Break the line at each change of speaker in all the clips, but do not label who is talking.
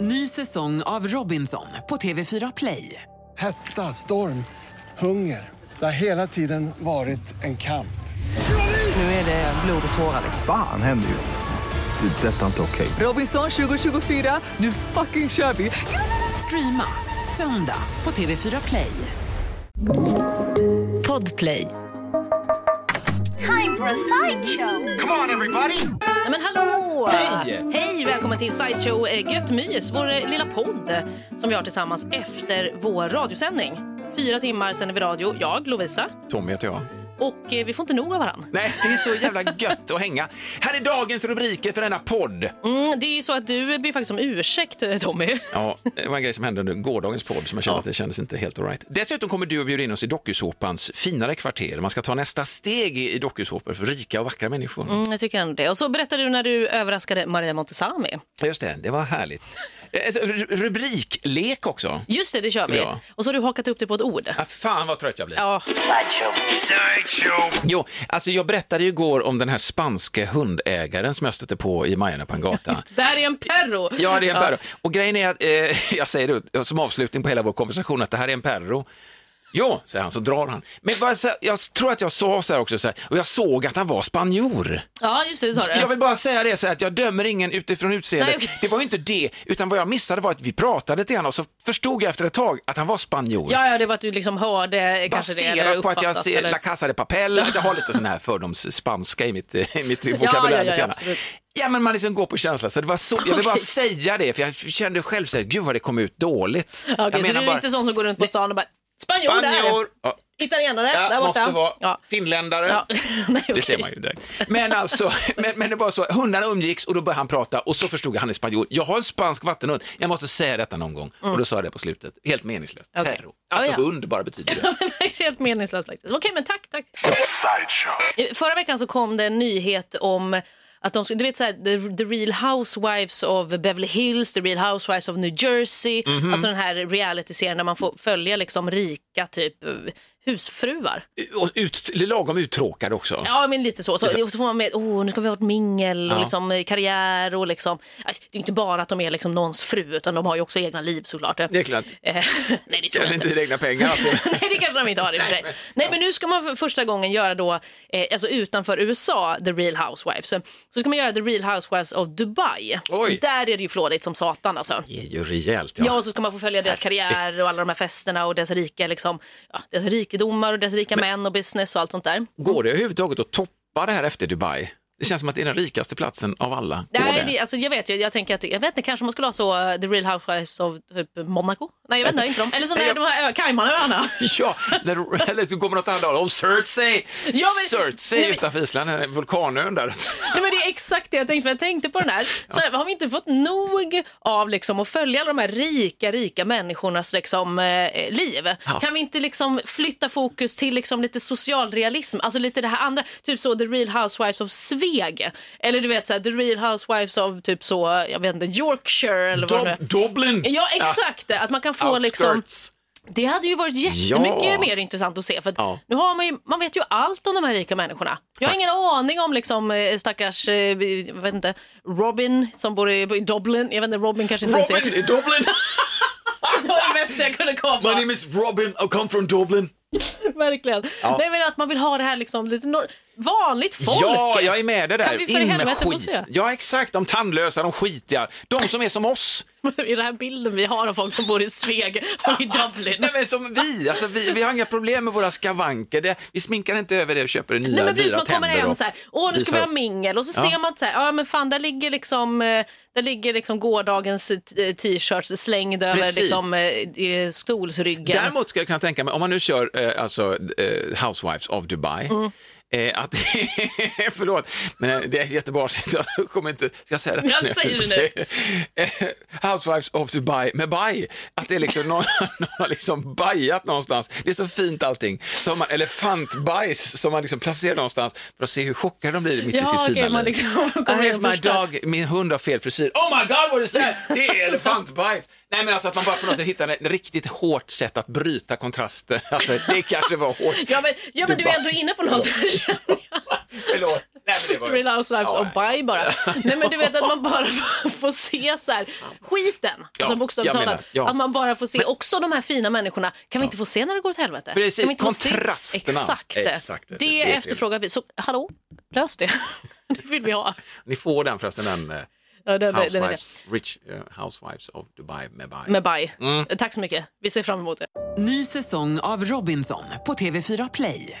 Ny säsong av Robinson på TV4 Play.
Hetta, storm, hunger. Det har hela tiden varit en kamp.
Nu är det blod och tårar. liksom.
Fan händer just nu. Det. är Detta är inte okej.
Robinson 2024, nu fucking kör vi! Streama söndag på TV4 Play.
Podplay.
time for a sideshow.
Nej men hallå! Hej! Hej, välkommen till Sideshow eh, Gött Mys, vår eh, lilla podd eh, som vi har tillsammans efter vår radiosändning. Fyra timmar sänder vi radio, jag, Lovisa,
Tommy heter jag.
och eh, vi får inte nog av varandra.
Nej, det är så jävla gött att hänga. Här är dagens rubriker för denna podd.
Mm, det är ju så att du ber faktiskt om ursäkt, eh, Tommy.
Ja, det var en grej som hände under gårdagens podd som jag kände att det kändes inte helt alright. Dessutom kommer du att bjuda in oss i dokusåpans finare kvarter. Man ska ta nästa steg i i dokusåpor för rika och vackra människor.
Mm, jag tycker ändå det. Och så berättade du när du överraskade Maria Montazami.
Just det, det var härligt. Eh, alltså, ru- Rubriklek också.
Just det, det kör
Skulle
vi.
jag?
Och så har du hakat upp det på ett ord.
Ah, fan vad trött jag blir.
Ja,
Jo, alltså jag berättade ju igår om den här spanske hundägaren som jag stötte på i Majorna på en gata.
det här är en perro.
Ja, det är en perro. Och grejen är att, eh, jag säger det upp- som avslutning på hela vår konversation, att det här är en perro. Ja, säger han, så drar han. Men vad, så, jag tror att jag sa så här också, så här, och jag såg att han var spanjor.
Ja, just det, det sa du.
Jag vill bara säga det, så här, att jag dömer ingen utifrån utseendet.
Nej, okej.
Det var ju inte det, utan vad jag missade var att vi pratade lite grann och så förstod jag efter ett tag att han var spanjor.
Ja, ja, det var att du liksom hörde kanske det. eller
Baserat på att jag
uppfattat,
ser
eller-
La Casa de Papel, att jag har lite sån här fördomsspanska i mitt, i mitt vokabulär.
ja, ja,
lite grann.
absolut.
ja, men man liksom går på känsla, så det var så, jag vill bara
Okej.
säga det, för jag kände själv så här, gud vad det kom ut dåligt.
Ja,
jag
Okej, så du är inte sån som går runt på stan och bara spanjor,
spanjor,
där,
ja,
italienare
ja,
där borta.
måste vara,
Ja.
finländare.
Ja. Nej,
Det
okej.
ser man ju direkt. Men alltså, men, men det var så, hundarna umgicks och då började han prata och så förstod jag att han är spanjor. Jag har en spansk vattenhund, jag måste säga detta någon gång. Och då sa jag det på slutet, helt meningslöst.
Mm. Okej.
Perro. Alltså
Ja, ja.
hund bara betyder det.
Ja, men det är helt meningslöst faktiskt. Okej, men tack, tack. Eh, Förra veckan så kom det en nyhet om att de, skulle- du vet så här, the, the Real Housewives of Beverly Hills, The Real Housewives of New Jersey,
Mhm.
alltså den här realityserien där man får följa liksom rika typ eh, husfruar.
Och ut, lagom uttråkad också.
Ja, men lite så. så,
Liksom.
och så får man med, oh, nu ska vi ha ett mingel och liksom, eh, karriär och liksom. Aj, Det är inte bara att de är liksom någons fru utan de har ju också egna liv såklart.
Det är klart.
Eh, Nej, det tror jag
Kanske inte
inte.
dina egna pengar alltså. alltid.
Nej, det kanske de inte har i och för sig. Nej, men nu ska man för första gången göra då, eh, alltså utanför USA, The Real Housewives. Så ska man göra The Real Housewives of Dubai.
Oj.
Där är det ju flådigt som satan alltså.
Det är ju rejält.
Ja, och så ska man få följa deras karriär och alla de här festerna och deras rika liksom, ja, deras rikedomar och deras rika män och business och allt sånt där.
Går det överhuvudtaget att toppa det här efter Dubai? Det känns som att det är den rikaste platsen av alla. Går
Nej, det, alltså, jag vet ju, jag tänker att, jag vet inte, kanske man skulle ha så eh, The Real Housewives of typ, Monaco? Nej, jag vet inte, inte de. Eller så där,
Jag-
de här ö- Caymanöarna.
Ja, där, eller så går man åt andra hållet. Oh, Surtsey!
Ja, men-
Surtsey
Nej, men-
utanför Island, den här vulkanön där.
Nej, men det är exakt det jag tänkte, för jag tänkte på den här. Så har vi inte fått nog av liksom, att följa alla de här rika, rika människornas liksom, eh, liv?
Ja.
Kan vi inte liksom, flytta fokus till liksom, lite socialrealism? Alltså lite det här andra, typ så The Real Housewives of Sveg. Eller du vet så här, The Real Housewives of typ så, jag vet inte, Yorkshire eller vad det nu
Dub- Dublin!
Ja, exakt. det. Att man kan få liksom...
Outskirts.
Det hade ju varit jättemycket
Ja.
mer intressant att se. För att
Ja.
nu har man, ju, man vet ju allt om de här rika människorna. Jag har ingen aning om liksom, eh, stackars eh, jag vet inte, Robin som bor i i Dublin. Jag vet inte, Robin kanske inte ens
Robin
heter-
i Dublin!
Det var det bästa jag kunde komma på.
My name is Robin, I come from Dublin.
Verkligen. Nej, men att man vill ha det här liksom, lite nor- vanligt folk.
Ja, jag är med det där.
Kan vi för
In med
helvete få
skit.
se?
Ja, exakt. De tandlösa, de skitiga, de som är som oss.
I den här bilden vi har av folk som bor i Sveg och i Dublin.
Nej men som vi, alltså vi, vi har inga problem med våra skavanker. Det, vi sminkar inte över det och köper nya
Nej, men precis,
dyra
man kommer
tänder
hem
och
så här, åh nu ska
visar
vi ha
upp."
mingel och så
Ja.
ser man så här, ja men fan där ligger liksom, eh, där ligger liksom gårdagens eh, t- eh, t-shirts slängd över
Precis.
liksom, eh, eh, stolsryggen.
Däremot skulle jag kunna tänka mig, om man nu kör eh, alltså, eh, Housewives of Dubai,
Mm.
eh, att, förlåt, men eh, det är jättebarnsligt, jag kommer inte, ska jag säga detta
Jag säger
det nu. Housewives of Dubai med baj, att det är liksom någon, någon har liksom bajat någonstans, det är så fint allting, så har man elefantbajs som man liksom placerar någonstans för att se hur chockade de blir mitt
Ja,
i sitt
okej,
fina
man
liv.
liksom
Ah,
kommer
here's
in
my
första.
dog, min hund har fel frisyr, oh my god what is that, det är elefantbajs. Nej men alltså att man bara på något sätt hittar ett riktigt hårt sätt att bryta kontraster, alltså det kanske var hårt.
Ja men, ja, men du är
Dubai.
ändå inne på något. känner jag.
Förlåt. Nej, men det var...
Real Housewives
Ja,
och Baj bara. Nej men du vet att man bara får se så här, skiten, alltså bokstavligt
jag menar,
talat.
ja.
Att man bara får se också de här fina människorna, kan vi inte få se när det går åt helvete?
Precis,
kan vi inte få se-
kontrasterna.
Exakt,
Exakt,
det,
det- det är det.
efterfrågar vi. Så hallå, lös det. det vill vi ha.
Ni får den förresten, den, eh,
Ja, den, den, den är det.
Housewives, Rich eh, Housewives of Dubai med Bye.
Med Baj.
Mm.
Tack så mycket, vi ser fram emot det.
Ny säsong av Robinson på TV4 Play.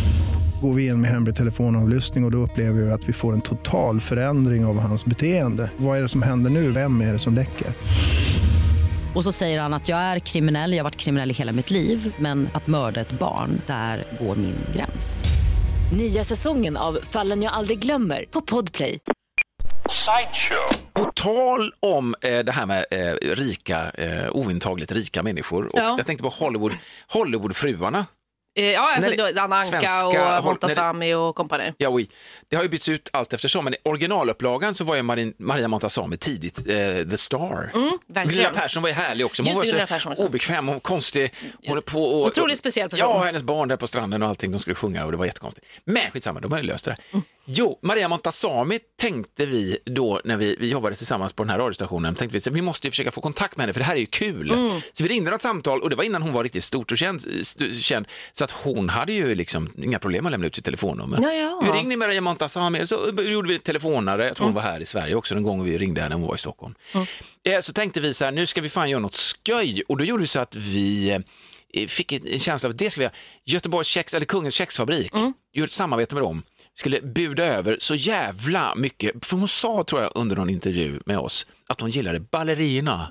går vi in med hemlig telefonavlyssning och, och då upplever vi att vi får en total förändring av hans beteende. Vad är det som händer nu? Vem är det som läcker?
Och så säger han att jag är kriminell, jag har varit kriminell i hela mitt liv men att mörda ett barn, där går min gräns.
Nya säsongen av Fallen jag aldrig glömmer på Podplay.
På tal om eh, det här med eh, rika, eh, ointagligt rika människor. Och
Ja.
Jag tänkte på Hollywood, Hollywoodfruarna.
Eh, Ja, alltså
Nej,
då, Anna Anka
svenska
och
håll-
Montazami och kompani.
Ja, oui. Det har ju bytts ut allt eftersom, men i originalupplagan så var ju Marin, Maria Montazami tidigt eh, the star.
verkligen.
Gunilla Persson var ju härlig också, men
Just det,
hon
Gunilla
var
Persson
så
också.
obekväm och konstig. Hon på och,
Otroligt speciell person.
Ja, hennes barn där på stranden och allting, de skulle sjunga och det var jättekonstigt. Men skitsamma, de har ju löst det där.
Mm.
Jo, Maria Montazami tänkte vi då när vi, vi jobbade tillsammans på den här radiostationen, tänkte vi så här, vi måste ju försöka få kontakt med henne för det här är ju kul.
Mm.
Så vi ringde något samtal och det var innan hon var riktigt stort och känd, st- känd så att hon hade ju liksom inga problem att lämna ut sitt telefonnummer.
Ja, ja. Mm.
Vi ringde Maria Montazami och så eh, gjorde vi telefonare, jag tror hon var här i Sverige också den gången vi ringde henne, hon var i Stockholm. Eh, Så tänkte vi så här, nu ska vi fan göra något skoj och då gjorde vi så att vi eh, fick en en känsla av att det ska vi göra. Göteborgs kex, eller Kungens kexfabrik,
Mm.
gjorde ett samarbete med dem, skulle buda över så jävla mycket, för hon sa tror jag under någon intervju med oss att hon gillade ballerina,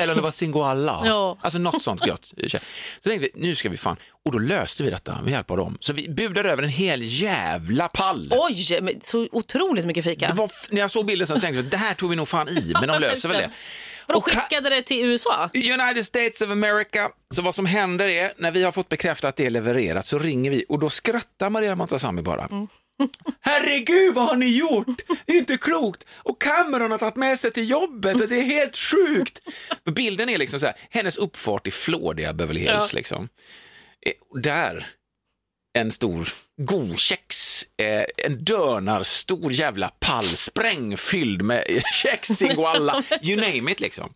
eller om det var singoalla,
Mm, Ja.
alltså något sånt gött. Så tänkte vi, nu ska vi fan, och då löste vi detta med hjälp av dem. Så vi budade över en hel jävla pall.
Oj, men så otroligt mycket fika.
Det var, f- när jag såg bilden så tänkte jag, det här tog vi nog fan i, men de löser väl det.
Och de
Och ka-
skickade det till USA?
United States of America. Så vad som händer är, när vi har fått bekräftat att det är levererat så ringer vi och då skrattar Maria Montazami bara. Herregud vad har ni gjort? Det är inte klokt! Och kameran har tagit med sig till jobbet och det är helt sjukt! Bilden är liksom så här, hennes uppfart i flådiga Beverly Hills
Ja.
liksom. Eh, och Där, en stor god kex, eh, en dörnarstor jävla pall sprängfylld med kex, singoalla, you name it liksom.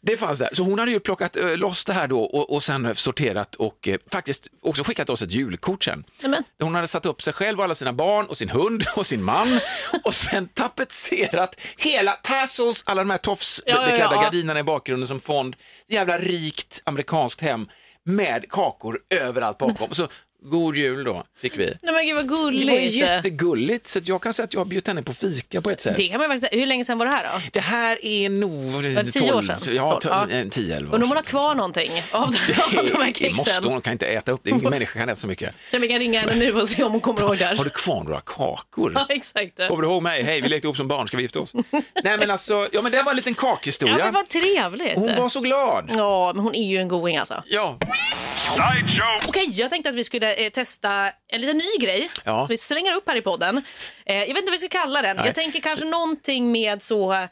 Det fanns där. Så hon hade ju plockat eh, loss det här då och, och sen sorterat och eh, faktiskt också skickat oss ett julkort sen.
Nämen.
Hon hade satt upp sig själv och alla sina barn och sin hund och sin man och sen tapetserat hela tassels, alla de här
Ja, ja,
tofsbeklädda
ja.
gardinerna i bakgrunden som fond. Jävla rikt amerikanskt hem med kakor överallt bakom. Så god jul då, fick vi.
Nej men gud vad
Det var
gulligt.
jättegulligt, så att jag kan säga att jag har bjudit henne på fika på ett sätt.
Det kan man ju faktiskt säga. Hur länge sedan var det här då?
Det här är nog
det tio år sedan?
Ja, eh,
Tolv, ja.
10-11
Undrar om hon har kvar någonting av de, av de här
Det måste hon,
kexen.
hon kan inte äta upp det. Ingen människa kan äta så mycket.
Så vi kan ringa henne nu och se om hon kommer ihåg det
Har du
här.
kvar några kakor?
Ja, exakt.
Kommer du ihåg mig? Hej, vi lekte ihop som barn, ska vi gifta oss? Nej men alltså, ja men det var en liten
Ja, men
kakhistoria.
vad trevligt.
Hon var så glad.
Ja, men hon är ju en going alltså.
Ja,
Okej, jag tänkte att vi skulle eh, testa en liten ny grej
Ja.
som vi slänger upp här i podden. Eh, jag vet inte vad vi ska kalla den.
Nej.
Jag tänker kanske någonting med så... Eh,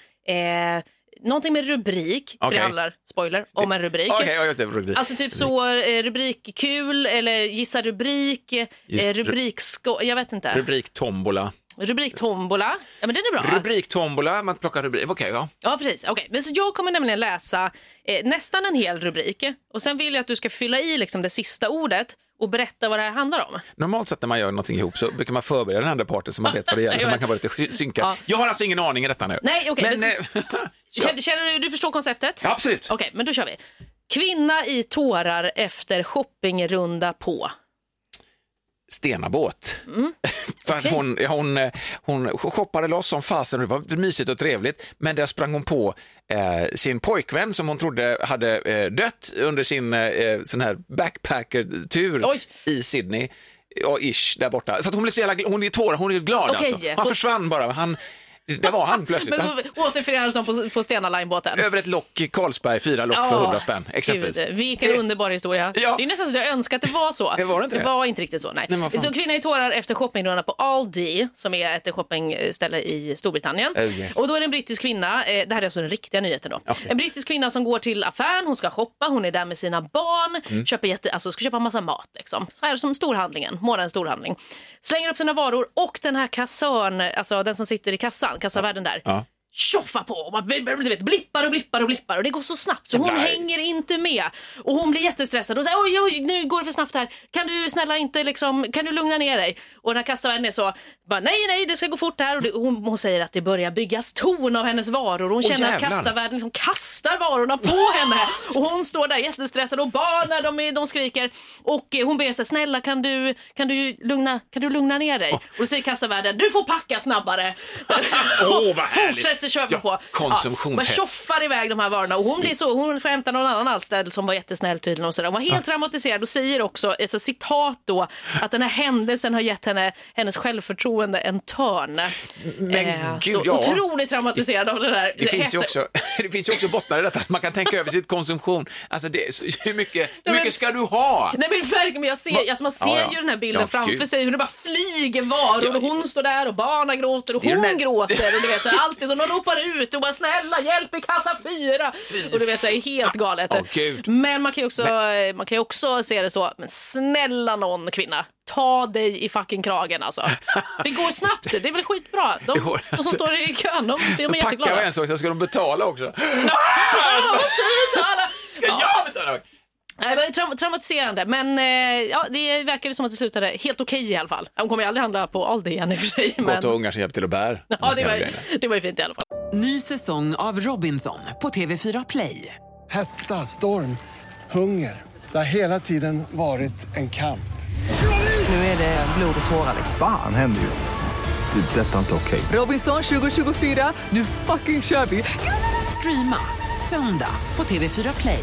någonting med rubrik, för
Okej.
det handlar, spoiler, om en rubrik.
okej, jag vet inte. rubrik.
Alltså typ så eh, rubrikkul eller gissa rubrik, eh,
Just-
rubriksko... Jag vet inte.
Rubrik tombola.
Rubriktombola. Ja men den är bra.
Rubrik tombola, man plockar rubrik. Okej, ja.
Ja, precis. Okej, Men så jag kommer nämligen läsa eh, nästan en hel rubrik och sen vill jag att du ska fylla i liksom, det sista ordet och berätta vad det här handlar om.
Normalt sett när man gör någonting ihop så brukar man förbereda den andra parten så man vet vad det gäller, så man kan vara lite synkad.
Ja.
Jag har alltså ingen aning i detta nu.
Nej, okej,
Men,
men-
eh,
Känner, känner du, du förstår konceptet?
Ja, absolut.
Okej, men då kör vi. Kvinna i tårar efter shoppingrunda på.
stenabåt.
Mm.
För att hon, hon, eh, hon shoppade loss som fasen och det var mysigt och trevligt men där sprang hon på eh, sin pojkvän som hon trodde hade eh, dött under sin eh, sån här eh, backpacker-tur
Oj.
i Sydney. ja, ish, där borta. Så att hon blev så jävla, gl- hon är två år, hon är glad
Okej.
alltså. Han försvann bara, han, där var han plötsligt.
Men
Han,
så återförenades de på, på Stena Line-båten.
över ett lock i Carlsberg, fyra lock för
Ja,
100 spänn, exempelvis.
Gud, vilken underbar historia.
Ja.
Det är nästan så att jag önskar att det var så.
Det var inte det.
var inte riktigt så. Nej.
Nej, vad fan.
så Kvinna i tårar efter shoppingrundan på Aldi, som är ett shoppingställe i Storbritannien.
Oh, yes.
Och då är det en brittisk kvinna, eh, det här är alltså den riktiga nyheten då.
Okej.
En brittisk kvinna som går till affären, hon ska shoppa, hon är där med sina barn,
Mm.
köper jätte, alltså ska köpa massa mat liksom. Så här som storhandlingen, morgonens storhandling. Slänger upp sina varor och den här kassörn, alltså den som sitter i kassan, kassavärden där
Ja.
tjoffar på och bara, du vet, blippar och blippar och blippar och det går så snabbt så hon
Nej.
hänger inte med och hon blir jättestressad och säger oj oj nu går det för snabbt här kan du snälla inte liksom kan du lugna ner dig och den här kassavärden är så bara, nej nej det ska gå fort här och det, hon, hon säger att det börjar byggas ton av hennes varor och hon
Åh,
känner
jävlar.
att kassavärden liksom kastar varorna på henne och hon står där jättestressad och barnen de, är- de skriker och eh, hon ber sig snälla kan du kan du lugna kan du lugna ner dig och då säger kassavärden du får packa snabbare
Åh, vad härligt.
Fortsätter köpa
Ja,
på.
konsumtionshets. Mm.
Ja, man shoppar iväg de här varorna och hon blir så, hon får hämta någon annan anställd som var jättesnäll tydligen och sådär. Hon var helt traumatiserad och säger också, alltså citat då, att den här händelsen har gett henne, hennes självförtroende en törn. Eh,
Men gud,
så
ja.
otroligt traumatiserad av det där.
Det finns, ju
hetsen.
också, det finns ju också bottnar i detta, att man kan tänka över sitt konsumtion. Alltså det, är så, hur mycket, hur mycket ska du ha?
Nej men verkligen, men jag
Va?
ser, alltså man ser
Ja, ja.
ju den här bilden
Ja,
framför
gud.
sig hur det bara flyger varor och hon står där och barnen gråter och
Det är
hon
den där-
gråter och du vet så här, alltid som någon ropar ut och bara snälla hjälp i kassa fyra och du vet så här, helt galet.
Åh, gud.
men man kan ju också, man kan ju också se det så, men snälla någon kvinna Ta dig i fucking kragen alltså. Det går snabbt, det är väl skitbra. De,
Det går-
de som står i kön, de, de är
Då packar
jätteglada.
vi en sak, sen ska de betala också.
Alla-
Ska jag betala?
Nej, det var ju traum- traumatiserande, men eh, ja, det verkade som att det slutade helt okej i alla fall. Hon kommer ju aldrig handla på Aldi igen i och för sig. Men...
Gott och ungar som hjälper till att bära. Mm,
Ja, det var, det var ju fint i alla fall.
Ny säsong av Robinson på TV4 Play.
Hetta, storm, hunger. Det har hela tiden varit en kamp.
Nu är det blod och tårar. liksom.
Fan händer just det. Det är detta inte okej.
Robinson 2024, nu fucking kör vi! Streama söndag på TV4 Play.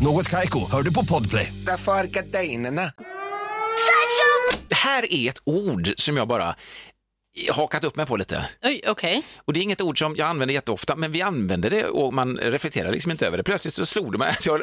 Något Kaiko, hör du på Podplay.
Därför är gardinerna.
Det här är ett ord som jag bara hakat upp mig på lite.
Oj, okej.
Och det är inget ord som jag använder jätteofta, men vi använder det och man reflekterar liksom inte över det. Plötsligt så slog det mig att jag,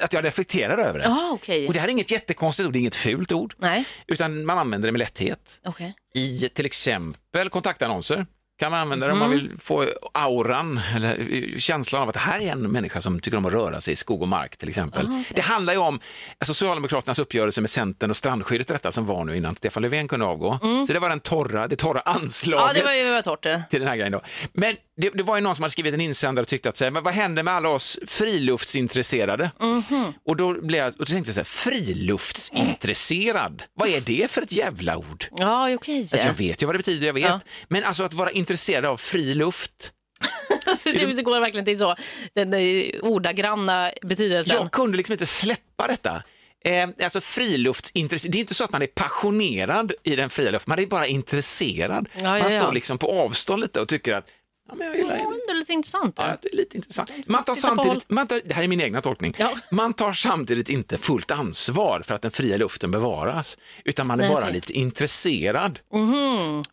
att jag reflekterar över det.
Ja, okej.
Och det här är inget jättekonstigt ord, det är inget fult ord,
Nej,
utan man använder det med lätthet.
okej.
I till exempel kontaktannonser kan man använda det om
Mm.
man vill få auran eller eh, känslan av att det här är en människa som tycker om att röra sig i skog och mark
Ah,
till exempel. Det handlar ju om eh, Socialdemokraternas uppgörelse med Centern och strandskyddet detta som var nu innan Stefan Löfven kunde avgå. Så det var den torra, det torra anslaget
Mm. Ja, det var ju det var torrt eh. det.
till den här grejen då. Men det, det var ju någon som hade skrivit en insändare och tyckte att så här, men vad händer med alla oss friluftsintresserade?
Mhm.
Och då blev jag, och då tänkte jag så här, friluftsintresserad, vad är det för ett jävla ord?
Ja, okej.
Alltså jag vet ju vad det betyder, jag vet.
Ja.
Men alltså att vara intresserad av fri luft.
Alltså, det, det går verkligen till så. Den där ordagranna betydelsen.
Jag kunde liksom inte släppa detta. Eh, alltså friluftsintresse, det är inte så att man är passionerad i den fria luften, man är bara intresserad.
Ja,
man
ja, ja.
står liksom på avstånd lite och tycker att ja, men jag gillar
Ja, det är lite intressant.
Ja, det är lite intressant. Man tar
Titta på
samtidigt, man tar, det här är min egna tolkning,
Ja.
man tar samtidigt inte fullt ansvar för att den fria luften bevaras, utan man är
Nej.
bara lite intresserad.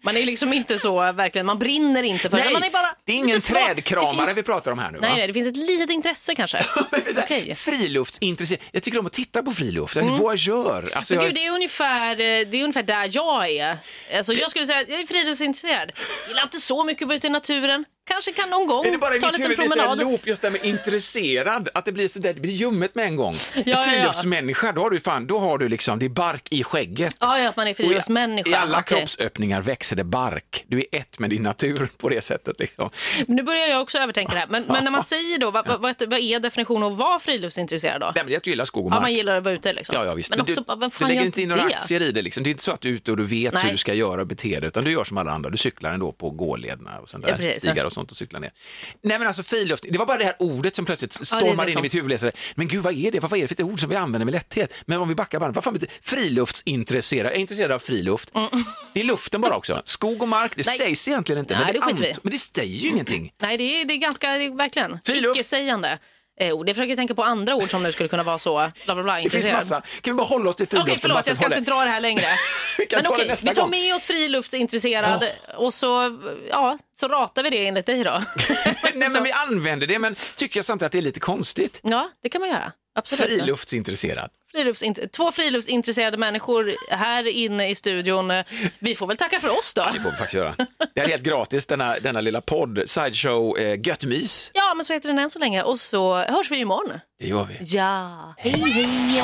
Man är liksom inte så, verkligen, man brinner inte för det. Man är bara
det är ingen
lite smart.
trädkramare
Det finns-
vi pratar om här nu.
Nej,
va?
nej, det finns ett litet intresse kanske. Okej. Mm.
Friluftsintresse- Jag tycker om att titta på friluft, jag är voyeur. Alltså,
Men
jag,
gud, det är ungefär, eh, det är ungefär där jag är. Alltså, jag skulle säga att jag är friluftsintresserad. Gillar inte så mycket att vara ute i naturen. kanske kan någon gång
Är det bara i
ta
mitt
lite
huvud det blir en
promenad.
loop just det här med intresserad, att det blir så där, det blir ljummet med en gång.
ja, ja.
Friluftsmänniska, då har du fan, då har du liksom, det är bark i skägget.
Ja, ja, att man är
Och i-
friluftsmänniska.
I alla
Okej.
kroppsöppningar växer det bark. Du är ett med din natur på det sättet. Liksom.
Men Nu börjar jag också övertänka det här. Men, men när man säger då, vad, vad, vad är definitionen av att vara friluftsintresserad då?
Nej, men jag gillar skog och mark.
Ja, man gillar att vara ute liksom.
Ja, ja, visst.
Men,
du,
också, bara, vem
du
fan
lägger
gör
inte in några
det?
aktier i det. Liksom. Det är inte så att du är ute och du vet
Nej.
hur du ska göra och bete dig, utan du gör som alla andra. Du cyklar ändå på gålederna och sånt där,
Ja, precis,
stigar
ja.
och sånt och cyklar ner. Nej, men alltså friluft, det var bara det här ordet som plötsligt
det är
stormade
det
in
som-
i mitt huvud. Jag sa, Men gud, vad är det? Vad är det för ett ord som vi använder med lätthet? Men om vi backar bandet, vad fan betyder friluftsintresserad? Jag är intresserad av friluft. Det är luften bara också. Skog och mark, det
Mm. Nej.
sägs egentligen inte,
Nej,
men,
det skiter vi i.
ant- men det säger ju ingenting.
Nej, det är, det är ganska, det är verkligen
Friluft.
icke-sägande. Eh, ord. jag försöker tänka på andra ord som nu skulle kunna vara så bla bla bla
Det finns
intresserad.
massa. Kan vi bara hålla oss till
Okej,
friluften?
förlåt,
Basse?
jag ska
Håll det.
inte dra det här längre.
Vi kan
Men
ta det
okej,
nästa
vi tar
gång.
med oss friluftsintresserad och så, ja, så ratar vi det enligt dig då.
Nej,
Liksom.
men vi använder det, men tycker jag samtidigt att det är lite konstigt.
Ja, det kan man göra. Absolut.
Friluftsintresserad.
Friluftsint- två friluftsintresserade människor här inne i studion. Vi får väl tacka för oss då.
Det får vi faktiskt göra. Det är helt gratis, denna, denna lilla podd. Sideshow eh, Gött mys.
Ja, men så heter den än så länge och så hörs vi imorgon.
Det gör vi.
Ja, hej hej.